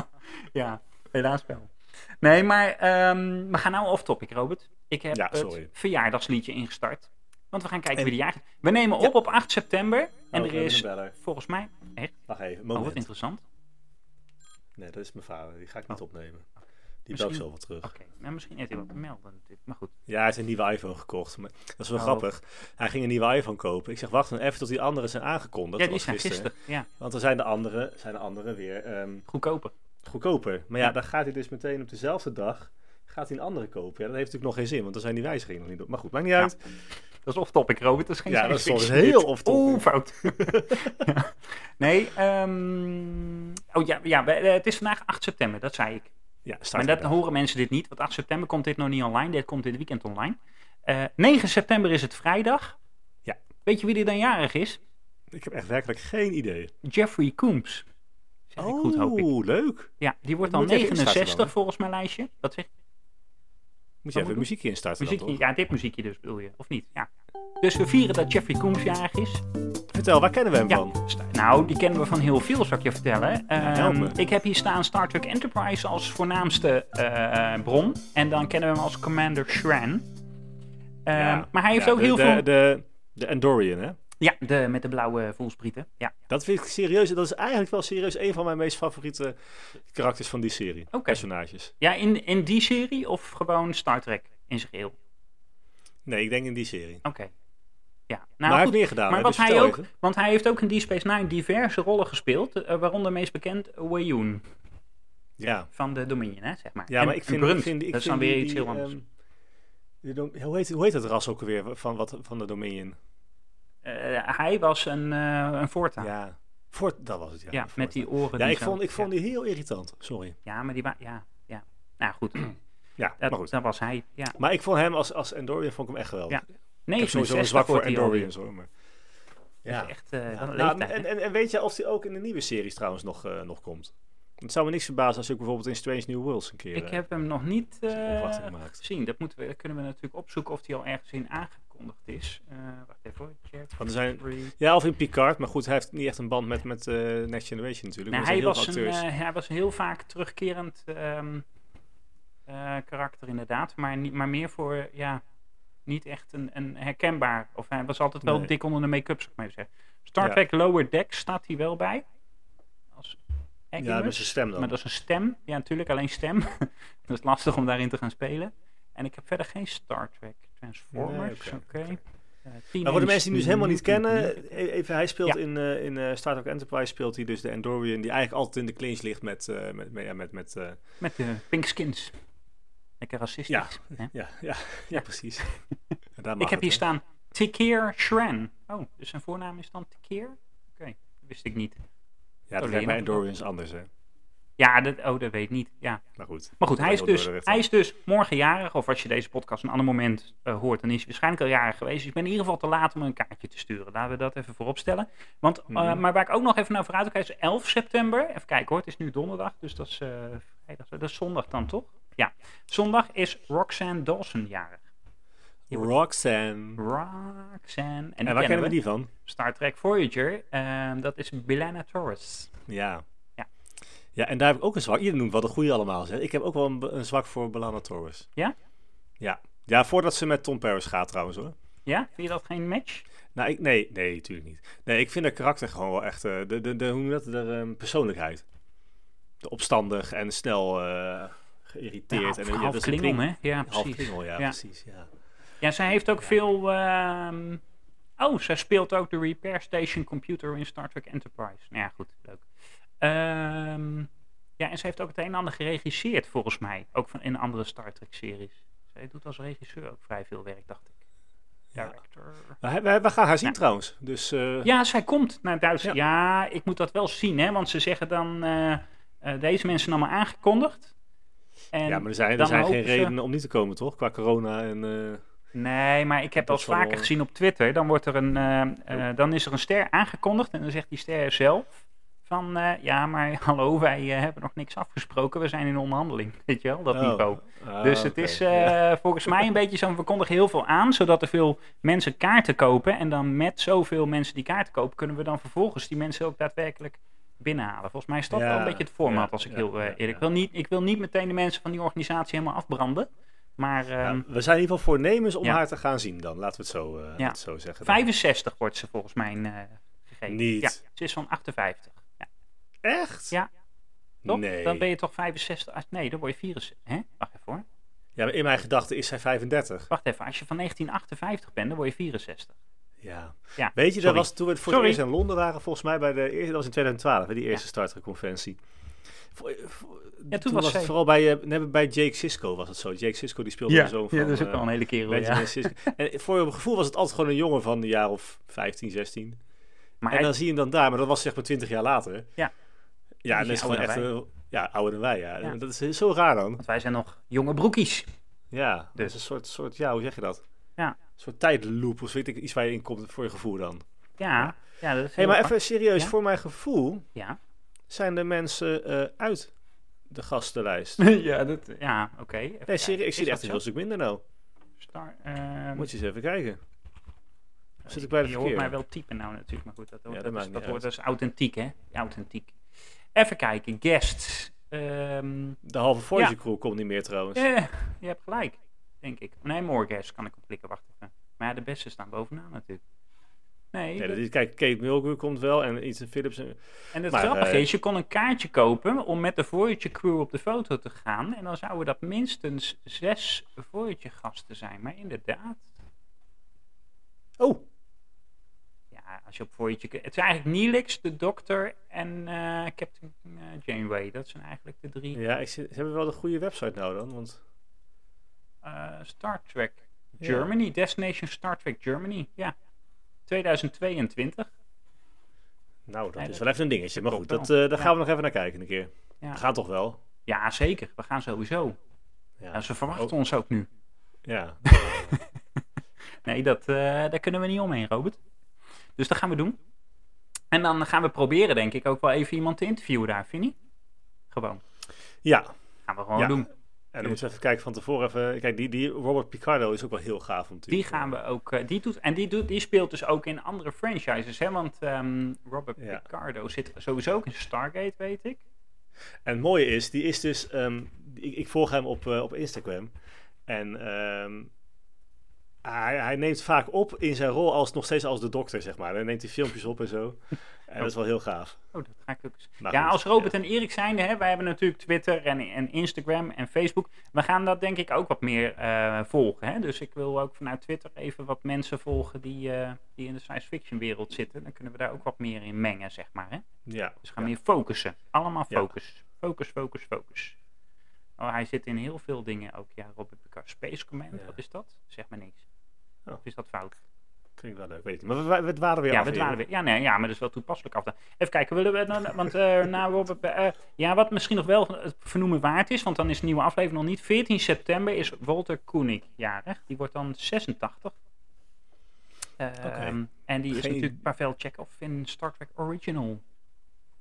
zo? Ja, helaas wel. Nee, maar ehm, we gaan nou off-topic, Robert. Ik heb Ja, het sorry. verjaardagsliedje ingestart. Want we gaan kijken En- wie de jaar... We nemen op op 8 september. En Oh, er we hebben is een beller. volgens mij... Echt? Wacht even, Oh, wat moment. interessant. nee, dat is mijn vader. Die ga ik niet opnemen. Die belt Oh. Misschien- zo wel terug. Oké, nou, misschien heeft hij wat te melden natuurlijk. Maar goed. Ja, hij heeft een nieuwe iPhone gekocht. Maar dat is wel Oh. grappig. Hij ging een nieuwe iPhone kopen. Ik zeg, wacht dan even tot die anderen zijn aangekondigd. ja, Dat die was zijn gisteren. gisteren. Ja, Want dan zijn de anderen, zijn de anderen weer ehm, goedkoper. goedkoper. Maar ja, dan gaat hij dus meteen op dezelfde dag gaat hij een andere kopen. Ja, dat heeft natuurlijk nog geen zin, want dan zijn die wijzigingen nog niet op. Maar goed, maakt niet uit. Dat is off-topic, Robert. Dat is geen Ja, dat science is toch fiction. heel off-topic. Oeh, fout. Ja. Nee, ehm, oh ja, ja we- eh, het is vandaag 8 september, dat zei ik. Ja, staat Maar dat erbij. horen mensen dit niet, want 8 september komt dit nog niet online. Dit komt dit weekend online. Eh, 9 september is het vrijdag. Ja. Weet je wie er dan jarig is? Ik heb echt werkelijk geen idee. Jeffrey Coombs. Zeg ik goed, hoop ik. Oh, leuk. Ja, die wordt Moet dan je even instarten 69 dan, hè? volgens mijn lijstje. Wat zeg Moet Wat je moet even ik een muziekje instarten muziekje? dan, toch? Ja, dit muziekje dus bedoel je, of niet? Ja. Dus we vieren dat Jeffrey Coombs jarig is. Vertel, waar kennen we hem Ja, van? sta- nou, die kennen we van heel veel, zal ik je vertellen. Ehm, help me. ik heb hier staan Star Trek Enterprise als voornaamste eh, bron. En dan kennen we hem als Commander Shran. Ehm, Ja. Maar hij heeft Ja, ook de- heel de, veel... De, de Andorian, hè? Ja, de, met de blauwe voelsprieten. Ja, Dat vind ik serieus. Dat is eigenlijk wel serieus een van mijn meest favoriete karakters van die serie. Oké. Personages. ja in, in die serie of gewoon Star Trek in zijn geheel? Oké. Nee, ik denk in die serie. Ja, nou, maar hij goed. heeft meer gedaan. maar hè, wat dus hij vertel ook, even. want hij heeft ook in Deep Space Nine diverse rollen gespeeld, eh, waaronder meest bekend Wayoon Ja, van de Dominion, hè, zeg maar. ja En maar ik vind... Brunt, ik vind ik dat is vind dan weer die- iets heel die, anders. ehm, die dom- hoe, heet, hoe heet dat ras ook alweer van, wat, van de Dominion? Eh, hij was een, eh een Forta. Ja. Voort, dat was het, ja. Ja, Voort. met die oren. Ja, die ik zo- vond, ik vond ja. die heel irritant. Sorry. Ja, maar die wa- Ja, ja. Nou goed, Ja, dat, maar goed. dat was hij. Ja. Maar ik vond hem als, als Andorian vond ik hem echt geweldig. Ja, ik heb sowieso een zwak voor Endorians. Andorians hoor. Maar... Ja. Echt, eh, Ja, wat een nou, leeftijd, hè? en, en, en weet je of hij ook in de nieuwe series trouwens nog, eh, nog komt? Het zou me niks verbazen als je ook bijvoorbeeld in Strange New Worlds een keer Ik heb hem nog niet eh, zijn opwachting eh, maakt. gezien. Dat, moeten we, dat kunnen we natuurlijk opzoeken of die al ergens in aangekondigd is. Eh, wacht even hoor. Jeffrey. Want er zijn, ja, of in Picard, maar goed, hij heeft niet echt een band met, met eh, Next Generation natuurlijk. Nou, want er zijn hij, heel was veel een, acteurs. eh, hij was een heel vaak terugkerend ehm, eh, karakter inderdaad. Maar, niet, maar meer voor, eh, ja, niet echt een, een herkenbaar. Of hij was altijd wel Nee. dik onder de make-up, zou ik maar even zeggen. Star Ja. Trek Lower Deck staat hij wel bij. Als Agimus. ja, met zijn stem dan. Maar dat is een stem. Ja, natuurlijk, alleen stem. dat is lastig om daarin te gaan spelen. En ik heb verder geen Star Trek. Transformers, Nee, oké. oké, Eh, oké. Teenage Maar voor de mensen die nu helemaal niet Mutant kennen, Ninja- e- even, hij speelt Ja. in, eh in eh, Star Trek Enterprise, speelt hij dus de Andorian, die eigenlijk altijd in de clinch ligt met, eh, met, met, ja, met, met eh, Met de pink skins. Lekker racistisch. hè? ja, ja, ja, precies. En daar mag Ik heb hier het, hè. staan Tikir Shran. Oh, dus zijn voornaam is dan Tikir? Oké, dat wist ik niet. Ja, dat Oh, lijkt nee, bij nog- Andorians anders, hè. Ja, dat, oh, dat weet ik niet. Ja. Maar goed. Maar goed, hij is, Dat wel dus, door de rechter. hij is dus morgen jarig. Of als je deze podcast een ander moment eh, hoort, dan is hij waarschijnlijk al jarig geweest. Dus ik ben in ieder geval te laat om een kaartje te sturen. Laten we dat even vooropstellen. Want, eh, Mhm. maar waar ik ook nog even naar vooruit kijk is 11 september. Even kijken hoor, het is nu donderdag. Dus dat is, eh, vrijdag, dat is zondag dan toch? Ja, zondag is Roxanne Dawson jarig. hier wordt- Roxanne. Roxanne. En, die en waar kennen we. we die van? Star Trek Voyager, ehm, dat is Belana Torres. Ja. Ja. Ja, en daar heb ik ook een zwak. Iedereen noemt wel de goede allemaal, zeg. Ik heb ook wel een, be- een zwak voor Belana Torres. Ja? Ja. Ja, voordat ze met Tom Paris gaat trouwens, hoor. Ja, vind je dat geen match? Nou, ik, nee, nee, natuurlijk niet. Nee, ik vind haar karakter gewoon wel echt, eh, de, de, de, hoe noem je dat, de ehm, persoonlijkheid. De opstandig en snel eh, geïrriteerd. en, ja, half dat Klingon, hè? Ja, Half precies. klingel, ja, Ja. precies, ja. Ja, zij heeft ook veel... ehm, Oh, zij speelt ook de repair station computer in Star Trek Enterprise. Nou ja, goed, leuk. Ehm, ja, en ze heeft ook het een en ander geregisseerd, volgens mij. Ook van, in andere Star Trek-series. Zij doet als regisseur ook vrij veel werk, dacht ik. Ja. Director. Maar hij- wij, wij gaan haar zien Ja. trouwens. Dus eh, Ja, zij komt naar Duitsland. Ja. ik moet dat wel zien, hè? Want ze zeggen dan: eh, eh, deze mensen zijn allemaal aangekondigd. En ja, maar er zijn, er dan zijn geen hopen ze- redenen om niet te komen, toch? Qua corona en... eh, Nee, maar ik heb dat Dat zal vaker wel- Oh. gezien op Twitter. Dan, wordt er een, eh, eh, dan is er een ster aangekondigd en dan zegt die ster zelf: van eh, ja, maar hallo, wij eh, hebben nog niks afgesproken. We zijn in onderhandeling. Weet je wel, dat oh. niveau. Ah, Dus het oké. is Ja. eh, volgens mij een beetje zo'n, we kondigen heel veel aan, zodat er veel mensen kaarten kopen. En dan met zoveel mensen die kaarten kopen, kunnen we dan vervolgens die mensen ook daadwerkelijk binnenhalen. Volgens mij is dat Ja, wel een beetje het format, ja, als ik ja, heel eh, ja, eerlijk ja. Ik wil. Niet, ik wil niet meteen de mensen van die organisatie helemaal afbranden. Maar Ja, ehm, we zijn in ieder geval voornemens om ja. haar te gaan zien dan. Laten we het zo, eh, Ja. het zo zeggen. dan. 65 wordt ze volgens mij eh, gegeven. Niet. Ja, ze is van 58. Ja, Echt? Ja, toch? Nee. Dan ben je toch 65? Ah, Nee, dan word je 64. Hè? Wacht even hoor. Ja, maar in mijn gedachten is zij 35. Wacht even, als je van 1958 bent, dan word je 64. Ja. Ja, Weet je, dat sorry. was toen we het voor Sorry. het eerst in Londen waren, volgens mij bij de eerste, dat was in 2012, bij die eerste Star Trek conventie. Vo- eh, vo- toen was het zij- vooral bij, eh, nee, bij Jake Sisko was het zo. Jake Sisko die speelde de zoon van dat is ook eh, wel een hele kerel. Benjamin Ja. Sisko. En voor je gevoel was het altijd gewoon een jongen van een jaar of 15, 16. Maar en hij- dan zie je hem dan daar, maar dat was zeg maar 20 jaar later. Ja. Ja, Dan en dat is is hij gewoon echt ouder een- ja, ouder dan wij. Ja. Ja. Dat is heel- zo raar dan. Want wij zijn nog jonge broekies. Ja, dus. Dus. dat is een soort, soort, ja, hoe zeg je dat? Ja. Een soort tijdloop of zo, weet ik, iets waar je in komt voor je gevoel dan. Ja, ja dat is Hé, heel maar apart. even serieus, Ja? voor mijn gevoel Ja, zijn de mensen eh, uit de gastenlijst. ja, dat... ja oké. even Nee, kijken. serieus, ik Is zie er dat echt een heel zo? stuk minder nou. Star, ehm, Moet je eens even kijken. Zit ik bij de Je hoort mij verkeerde? wel typen nou natuurlijk, maar goed, dat, hoort, dat dat, maakt is, niet dat, uit. hoort, dat is authentiek, hè? Authentiek. Even kijken, guests. Ehm, De halve Voyager Ja. crew komt niet meer trouwens. eh, je hebt gelijk, denk ik. Nee, more guests kan ik op klikken, wacht even. Maar ja, de beste staan bovenaan natuurlijk. Nee, Nee, dat- dat is, kijk, Kate Mulgrew komt wel en Ethan Phillips. en- en het maar, grappige eh, is, je kon een kaartje kopen om met de Voyager crew op de foto te gaan. En dan zouden dat minstens zes Voyager gasten zijn. Maar inderdaad, Oh, ja, als je op Voyager... Het zijn eigenlijk Neelix, de dokter en eh, Captain eh, Janeway. Dat zijn eigenlijk de drie... ja, ik zit, ze hebben wel de goede website nou dan. Want, eh, Star Trek Ja. Germany, Destination Star Trek Germany, ja. 2022. nou, dat Nee, is dat- wel even een dingetje. Maar goed, klopt dat, wel. eh, daar Ja. gaan we nog even naar kijken een keer. Ja. Gaat toch wel? ja, zeker. We gaan sowieso. Ja, ze verwachten Oh, ons ook nu. Ja, Nee, dat, eh, daar kunnen we niet omheen, Robert. Dus dat gaan we doen. En dan gaan we proberen, denk ik, ook wel even iemand te interviewen daar, vind je niet? Gewoon. Ja, Gaan we gewoon Ja. doen. en dan moeten we even kijken van tevoren. Even, kijk, die, die Robert Picardo is ook wel heel gaaf om te Die gaan we ook. eh, die doet, en die, doet, die speelt dus ook in andere franchises. Hè? Want ehm, Robert Ja. Picardo zit sowieso ook in Stargate, weet ik. En het mooie is, die is dus. ehm, ik, ik volg hem op, eh, op Instagram. En ehm, hij, hij neemt vaak op in zijn rol als nog steeds als de dokter, zeg maar. Dan neemt hij filmpjes op en zo. En dat is wel heel gaaf. Oh, dat ga ik ook eens. Maar ja, Nou, goed, als Robert en Erik zijnde, hè, wij hebben natuurlijk Twitter en, en Instagram en Facebook. We gaan dat denk ik ook wat meer eh, volgen. Hè? Dus ik wil ook vanuit Twitter even wat mensen volgen die, eh, die in de science fiction wereld zitten. Dan kunnen we daar ook wat meer in mengen, zeg maar. Hè? Ja, Dus we gaan ja. meer focussen. Allemaal Ja. focus. Focus, focus, focus. Oh, hij zit in heel veel dingen ook. Ja, Robert Picard. Space Command, Ja. wat is dat? Zeg maar niks. Oh. Of is dat fout? vind ik wel leuk. Weet ik niet. Maar we, we, we dwalen weer Ja, af we hier. dwalen weer. Ja, nee, ja, maar dat is wel toepasselijk af. dan. Even kijken, willen we het nou, want eh na Robert, eh, ja, wat misschien nog wel het vernoemen waard is, want dan is de nieuwe aflevering nog niet. 14 september is Walter Koenig jarig. Die wordt dan 86. Ehm, Oké. En die is Geen- natuurlijk Pavel Chekhov in Star Trek Original.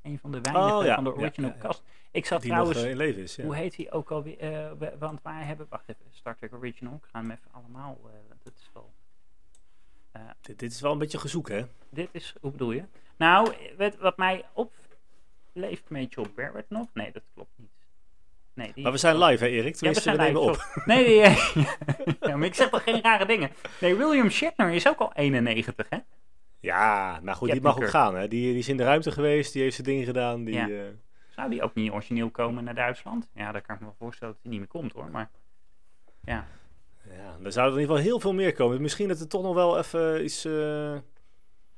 Een van de weinigen Oh, ja. van de Ja, original ja, ja. cast. Ik zat Die trouwens, nog eh, in leven is. Ja. hoe heet hij ook alweer? eh, we- want waar hebben, wacht even, Star Trek Original. Ik ga hem even allemaal, eh, want dat is wel... Dit, dit is wel een beetje gezoek, hè? Dit is, hoe bedoel je? Nou, wat, wat mij op. Leeft Rachel Barrett nog? Nee, dat klopt niet. Nee, die... Maar we zijn live, hè, Erik? Ja, we Tenminste, zijn we nemen live, op. sorry. Nee, nee, nee. ja, maar ik zeg toch geen rare dingen. Nee, William Shatner is ook al 91, hè? Ja, nou goed, Captain die mag ook Kirk. gaan, hè? Die, die is in de ruimte geweest, die heeft zijn ding gedaan. Die, Ja. eh, Zou die ook niet origineel komen naar Duitsland? Ja, daar kan ik me wel voorstellen dat hij niet meer komt, hoor. Maar ja, ja, er zouden in ieder geval heel veel meer komen. Misschien dat er toch nog wel even iets... eh,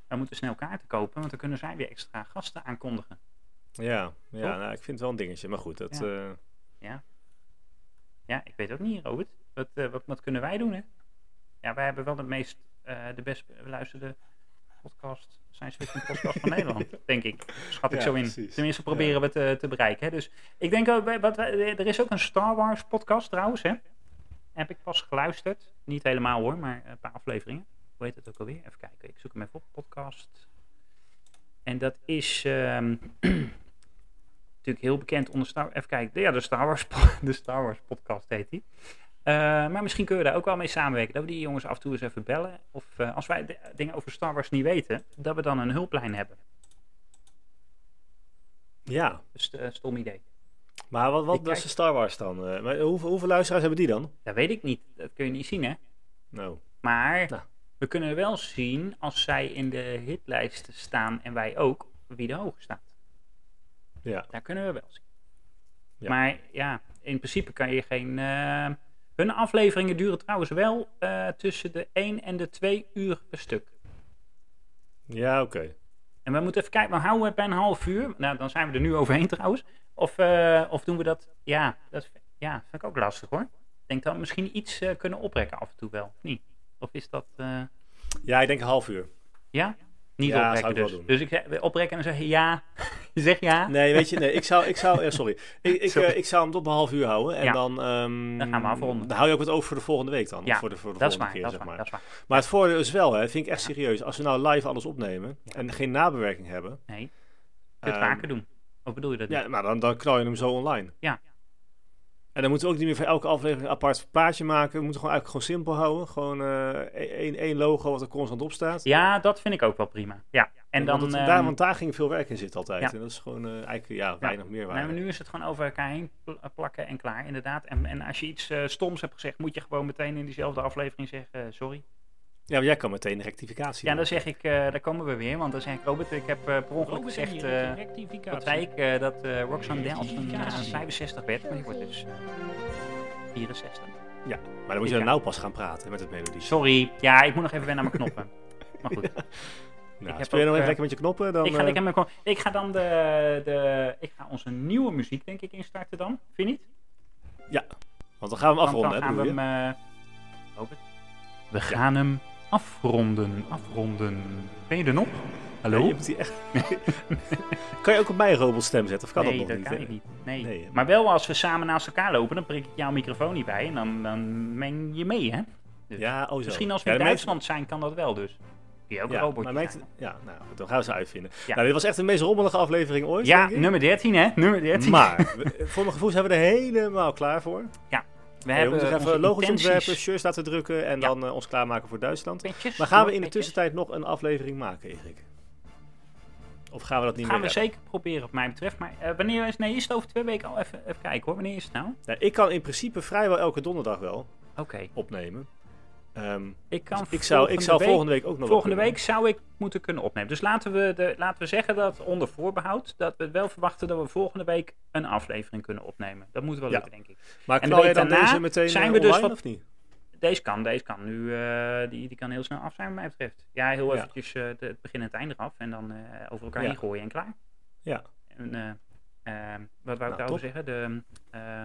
we moeten snel kaarten kopen, want dan kunnen zij weer extra gasten aankondigen. Ja, Toch? ja nou, ik vind het wel een dingetje. Maar goed, dat, Ja. eh, Ja, ik weet ook niet, Robert. Wat, eh, wat, wat kunnen wij doen, hè? Ja, wij hebben wel de meest, eh, de best beluisterde podcast, science fiction podcast van Nederland, denk ik. Schat ik Ja, zo in. precies. Tenminste, Ja. proberen we te, te bereiken, hè? Dus ik denk ook, wij- wat, wij- er is ook een Star Wars podcast trouwens, hè? Heb ik pas geluisterd. Niet helemaal hoor, maar een paar afleveringen. Hoe heet het ook alweer? Even kijken, ik zoek hem even op. Podcast. En dat is... ehm, natuurlijk heel bekend onder Star Even kijken, ja, de Star Wars, po- de Star Wars podcast heet die. Eh, maar misschien kunnen we daar ook wel mee samenwerken. Dat we die jongens af en toe eens even bellen. Of eh, als wij de- dingen over Star Wars niet weten, dat we dan een hulplijn hebben. ja. Dus eh, stom idee. Maar wat, Ik wat was kijk- de Star Wars dan? eh, maar hoeveel, hoeveel luisteraars hebben die dan? Dat weet ik niet. Dat kun je niet zien, hè? Nou, Maar Nou. we kunnen wel zien als zij in de hitlijsten staan en wij ook, wie er hoog staat. ja. Daar kunnen we wel zien. Ja. Maar ja, in principe kan je geen. eh, hun afleveringen duren trouwens wel eh, tussen de 1 en de 2 uur per stuk. Ja, oké. En we moeten even kijken, maar houden we het bij een half uur? Nou, dan zijn we er nu overheen trouwens. Of, eh, of doen we dat? Ja, dat ja, vind ik ook lastig hoor. Ik denk dat we misschien iets eh, kunnen oprekken af en toe wel. Of niet? Of is dat. eh, Ja, ik denk een half uur. ja? Niet Ja, zou oprekken ik wel dus. doen. Dus ik zeg oprekken en dan zeg je ja. je zegt ja. Nee, weet je, nee, ik zou, ik zou, eh, sorry. Ik, ik, Sorry. eh, ik zou hem tot een half uur houden. En Ja. dan, ehm, Dan gaan we afronden. Dan hou je ook wat over voor de volgende week dan. Ja, of voor de, voor de dat is volgende waar, keer, dat is zeg waar, maar. dat is waar. Maar het voordeel is wel, hè, vind ik echt serieus. Als we nou live alles opnemen en geen nabewerking hebben. Nee, het ehm, vaker doen. Of bedoel je dat niet? Ja, nou, dan, dan knal je hem zo online. Ja. En dan moeten we ook niet meer voor elke aflevering een apart plaatje maken. We moeten gewoon eigenlijk gewoon simpel houden. Gewoon eh, één, één logo wat er constant op staat. Ja, dat vind ik ook wel prima. Ja. En dan. want, het- ehm, daar, want daar ging veel werk in zitten altijd. ja. En dat is gewoon eh, eigenlijk ja, weinig meer nou, waar. maar nu is het gewoon over elkaar heen pl- eh, plakken en klaar, inderdaad. En, en als je iets eh, stoms hebt gezegd, moet je gewoon meteen in diezelfde aflevering zeggen: eh, sorry. Ja, maar jij kan meteen een rectificatie Ja, doen. dan zeg ik, eh, daar komen we weer. Want dan zeg ik, Robert, ik heb eh, per ongeluk Robert en gezegd. Erik, eh, rectificatie. wat zei ik? eh, dat eh, Roxanne Delson eh, 65 werd, maar die wordt dus eh, 64. Ja, maar dan moet je Ja. dan nou pas gaan praten met het melodie. Sorry, ja, ik moet nog even wennen aan mijn knoppen. Maar goed. Nou, heb speel je ook, nog eh, even lekker met je knoppen? Dan, Ik ga, eh, lekker met mijn knop- ik ga dan de, de. Ik ga onze nieuwe muziek, denk ik, instarten dan. Vind je niet? Ja, want dan gaan we hem Want afronden. dan gaan hè, we hem. bedoel eh, Robert? We gaan hem afronden. Afronden. Ben je er nog? je? Hallo? Ja, je moet die echt... kan je ook op mijn robotstem zetten? Of kan nee, dat nog dat niet? kan hè? ik niet. Nee. Nee, hè? maar wel als we samen naast elkaar lopen, dan prik ik jouw microfoon niet bij en dan, dan meng je mee, hè? Ja, oh zo. Misschien als we Ja, in de meeste- Duitsland zijn, kan dat wel dus. Kun je ook ja, een robotje maar mijn- zijn. ja, nou goed, dan gaan we ze uitvinden. Ja. Nou, dit was echt de meest rommelige aflevering ooit. Ja, denk ik. nummer 13 hè, nummer Hm. 13. Maar, we- voor mijn gevoel zijn we er helemaal klaar voor. we eh, we moeten nog onze even logo's intenties. ontwerpen, shirts laten drukken en Ja. dan eh, ons klaarmaken voor Duitsland. Petjes, Maar gaan we in de petjes. tussentijd nog een aflevering maken, Erik? Of gaan we dat niet Gaan we meer zeker proberen, wat mij betreft. Maar eh, wanneer is, nee, is het over twee weken al? Even, even kijken hoor, wanneer is het nou? Nou, ik kan in principe vrijwel elke donderdag wel Oké, opnemen. Ehm, ik kan dus ik zou, ik zou week- volgende week ook nog wel Volgende kunnen. week zou ik moeten kunnen opnemen. Dus laten we, de, laten we zeggen dat onder voorbehoud, dat we wel verwachten dat we volgende week een aflevering kunnen opnemen. Dat moet wel Ja. lukken, denk ik. Maar En de knal jij week dan daarna deze meteen zijn eh, we dus online wat- of niet? Deze kan, deze kan nu, eh, die, die kan heel snel af zijn wat mij betreft. Ja, heel Ja. eventjes eh, de- het begin en het einde eraf en dan eh, over elkaar Ja. heen gooien en klaar. Ja. En, eh, ehm, wat wou ik Nou, daarover zeggen? De, eh,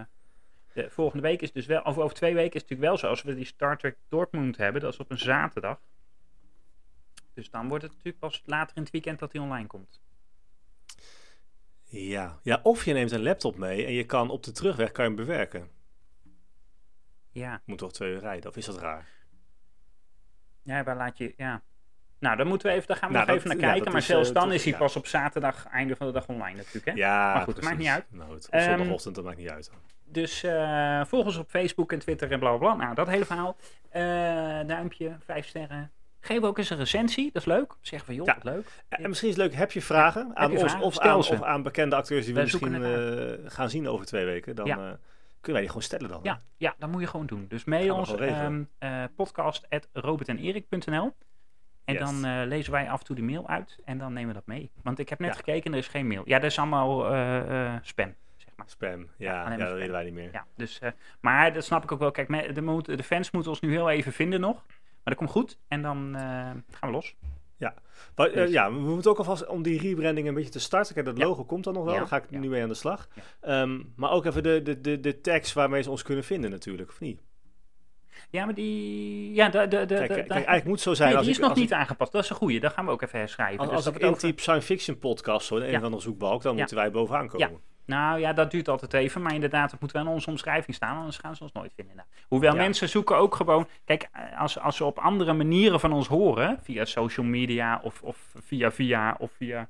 de, volgende week is dus wel, of over twee weken is het natuurlijk wel zo, als we die Star Trek Dortmund hebben, dat is op een zaterdag. Dus dan wordt het natuurlijk pas later in het weekend dat die online komt. Ja. ja, of je neemt een laptop mee en je kan op de terugweg kan je hem bewerken. Ja, Moet toch twee uur rijden, of is dat raar? ja waar laat je. Ja. Nou, dan moeten we even, daar gaan we Nou, nog dat- even ja, naar kijken. dat maar is, zelfs eh, dan toch- is hij ja. pas op zaterdag, einde van de dag online natuurlijk. Hè? Ja, Maar goed, het maakt precies. niet uit. Nou, goed, op Ehm, zondagochtend, dat maakt niet uit. Dus eh volg ons op Facebook en Twitter en bla bla bla. Nou, dat hele verhaal. Eh, duimpje, vijf sterren. Geef ook eens een recensie, dat is leuk. Zeggen van joh, Ja. wat leuk. En misschien is het leuk, heb je vragen aan je ons vragen? Of, Stel aan, ze. of aan bekende acteurs die we Wij misschien zoeken eh, gaan zien over twee weken? Dan Ja. eh, kunnen wij die gewoon stellen dan. hè? Ja, ja, dat moet je gewoon doen. Dus mail Gaan we ons gewoon ehm regelen. eh podcast En Yes. dan eh, lezen wij af en toe de mail uit en dan nemen we dat mee. Want ik heb net Ja. gekeken, er is geen mail. Ja, dat is allemaal eh, eh, spam, zeg maar. Spam, ja, alleen ja, maar dat spam. willen wij niet meer. Ja, dus, eh, maar dat snap ik ook wel. Kijk, me- de, moet- de fans moeten ons nu heel even vinden nog. Maar dat komt goed. En dan eh, gaan we los. Maar, eh, Dus- ja, we moeten ook alvast om die rebranding een beetje te starten. Kijk, dat Ja. logo komt dan nog wel. Ja. Daar ga ik Ja. nu mee aan de slag. Ja. Ehm, maar ook even de, de, de, de tags waarmee ze ons kunnen vinden natuurlijk, of niet? Ja, maar die... Ja, de, de, de, Kijk, de- eh, kijk, de- eigenlijk moet het zo zijn nee, als die is ik, nog als ik- niet aangepast. Dat is een goeie. Dat gaan we ook even herschrijven. als, Dus als dat ik we het over- intyp science fiction podcast zo in een Ja. of andere zoekbalk, dan Ja. moeten wij bovenaan komen. Nou ja, dat duurt altijd even. Maar inderdaad, het moet wel in onze omschrijving staan. Anders gaan ze ons nooit vinden. Nou, hoewel Ja. mensen zoeken ook gewoon... Kijk, eh, als, als ze op andere manieren van ons horen... Via social media of, of via via of via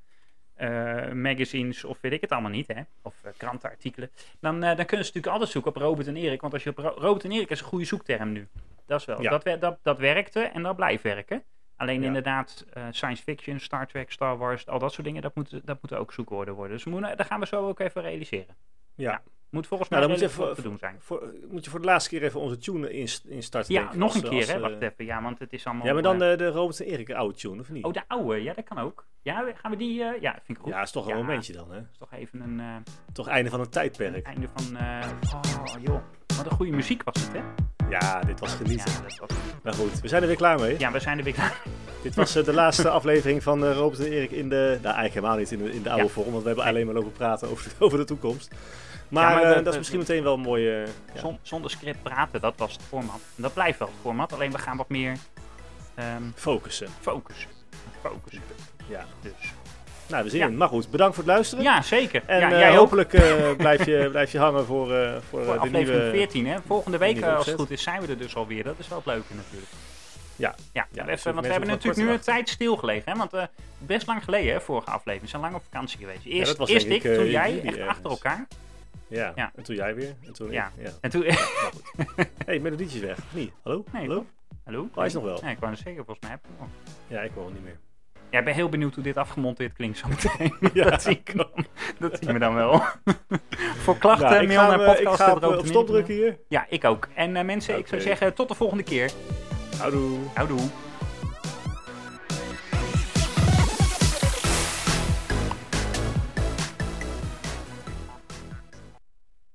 eh, magazines of weet ik het allemaal niet. Hè? Of eh, krantenartikelen. Dan, eh, dan kunnen ze natuurlijk altijd zoeken op Robert en Erik. Want als je op Ro- Robert en Erik is een goede zoekterm nu. Dat is wel. Ja. Dat, wer- dat, dat werkte en dat blijft werken. Alleen Ja. inderdaad, eh, science fiction, Star Trek, Star Wars, al dat soort dingen, dat moeten dat moeten ook zoekwoorden worden. Dus we moeten, dat gaan we zo ook even realiseren. Ja. Moet volgens mij Nou, dan moet je, redelijk even, goed te doen zijn. voor, moet je voor de laatste keer even onze tune inst- instarten. Ja, denk ik, nog als- een keer, als, hè? eh, Wacht even. Ja, want het is allemaal... Ja, maar dan eh, de, de Robert en Erik oude tune, of niet? oh, de oude. Ja, dat kan ook. Ja, gaan we die... eh, ja, vind ik goed. ja, is toch een Ja. momentje dan, hè? Dat is toch even een eh, Toch einde van een tijdperk. einde van... eh, oh, joh. Wat een goede muziek was het, hè? Ja, dit was Ja, genieten. dat was... Maar goed, we zijn er weer klaar mee. ja we zijn er weer klaar. Dit was eh, de laatste aflevering van eh, Robert en Erik in de... Nou, eigenlijk helemaal niet in de, in de oude Ja. vorm, want we hebben alleen maar lopen praten over, over de toekomst. Maar, Ja, maar eh, dat- dat dat- is misschien meteen wel een mooie... eh, ja. Zon- zonder script praten, dat was het format. En dat blijft wel het format, alleen we gaan wat meer ehm, Focussen. focussen. Focussen, Ja. dus. Nou, we zien Ja. in. Maar goed, bedankt voor het luisteren. Ja, zeker. En ja, eh, jij ook hopelijk eh, blijf, je, blijf je hangen voor, eh, voor, eh, voor de aflevering nieuwe... 14, hè? Volgende week, nieuwe eh, als het opzet. goed is, zijn we er dus alweer. Dat is wel het leuke natuurlijk. Ja. Ja, Ja, dus even, want we mensen hebben nog wat natuurlijk nu een kort te tijd stilgelegen, hè? Want eh, best lang geleden, hè, vorige aflevering. We zijn lang op vakantie geweest. Eerst, dat was eerst ik, denk ik, eh, toen in jij, juli echt ergens. achter elkaar. Ja. Ja. en toen jij weer. En toen Ja. ik. Ja. En toen... Maar goed. hey, melodietjes weg. Of niet? Hallo? Nee, Hallo? Hallo? Oh, hij is nog wel. Nee, ik wou net zeggen, volgens mij heb ik hem nog. Ja, ik hoor hem niet meer. Ja, ik ben heel benieuwd hoe dit afgemonteerd klinkt zo meteen. Ja. dat, zie ik dan, dat zie ik me dan wel. Voor klachten, Nou, ik mail ga naar hem, eh, Ik podcast. ga op, eh, op stop drukken hier. Ja, ik ook. En eh, mensen, ik zou Oké. zeggen, tot de volgende keer. Houdoe. Houdoe.